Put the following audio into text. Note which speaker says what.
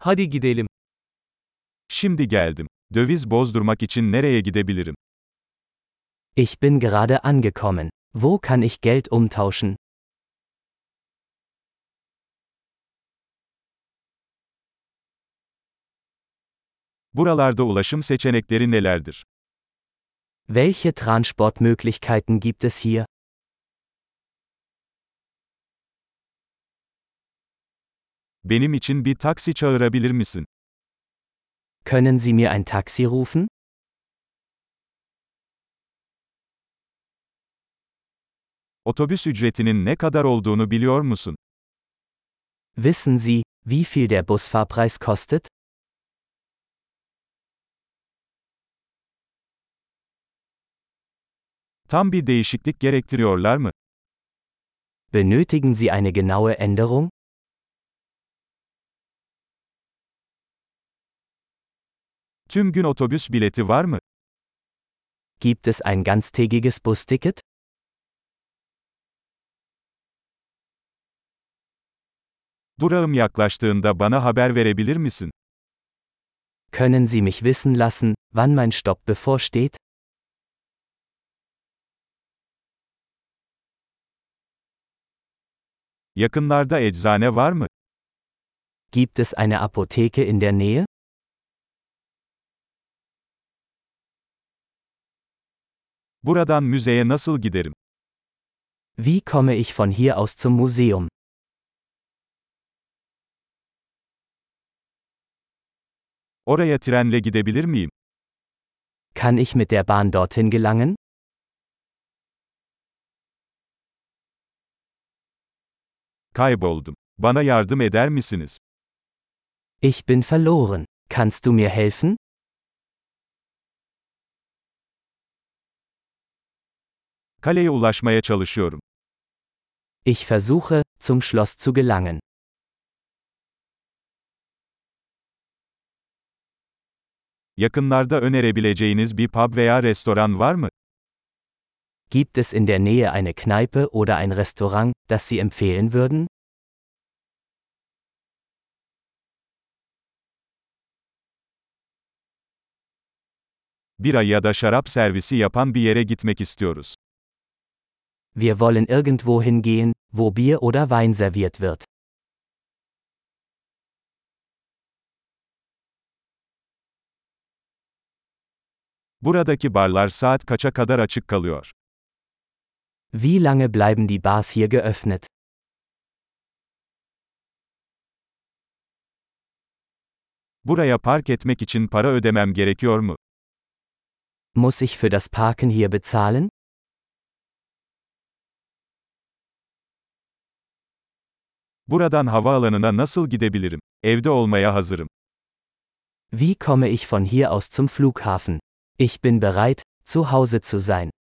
Speaker 1: Hadi gidelim.
Speaker 2: Şimdi geldim. Döviz bozdurmak için nereye gidebilirim?
Speaker 3: Ich bin gerade angekommen. Wo kann ich Geld umtauschen?
Speaker 2: Buralarda ulaşım seçenekleri nelerdir?
Speaker 3: Welche Transportmöglichkeiten gibt es hier?
Speaker 2: Benim için bir taksi çağırabilir misin?
Speaker 3: Können Sie mir ein Taxi rufen?
Speaker 2: Otobüs ücretinin ne kadar olduğunu biliyor musun?
Speaker 3: Wissen Sie, wie viel der Busfahrpreis kostet?
Speaker 2: Tam bir değişiklik gerektiriyorlar mı?
Speaker 3: Benötigen Sie eine genaue Änderung?
Speaker 2: Tüm gün otobüs bileti var mı?
Speaker 3: Gibt es ein ganztägiges Busticket?
Speaker 2: Durağım yaklaştığında bana haber verebilir misin?
Speaker 3: Können Sie mich wissen lassen, wann mein Stopp bevorsteht?
Speaker 2: Yakınlarda eczane var mı?
Speaker 3: Gibt es eine Apotheke in der Nähe?
Speaker 2: Buradan müzeye nasıl giderim?
Speaker 3: Wie komme ich von hier aus zum Museum?
Speaker 2: Oraya trenle gidebilir miyim?
Speaker 3: Kann ich mit der Bahn dorthin gelangen?
Speaker 2: Kayboldum. Bana yardım eder misiniz?
Speaker 3: Ich bin verloren. Kannst du mir helfen?
Speaker 2: Kaleye ulaşmaya çalışıyorum.
Speaker 3: Ich versuche, zum Schloss zu gelangen.
Speaker 2: Yakınlarda önerebileceğiniz bir pub veya restoran var mı?
Speaker 3: Gibt es in der Nähe eine Kneipe oder ein Restaurant, das Sie empfehlen würden?
Speaker 2: Bira ya da şarap servisi yapan bir yere gitmek istiyoruz.
Speaker 3: Wir wollen irgendwo hingehen, wo Bier oder Wein serviert wird.
Speaker 2: Buradaki barlar saat kaça kadar açık kalıyor?
Speaker 3: Wie lange bleiben die Bars hier geöffnet?
Speaker 2: Buraya park etmek için para ödemem gerekiyor mu?
Speaker 3: Muss ich für das Parken hier bezahlen?
Speaker 2: Buradan havaalanına nasıl gidebilirim? Evde olmaya hazırım.
Speaker 3: Wie komme ich von hier aus zum Flughafen? Ich bin bereit, zu Hause zu sein.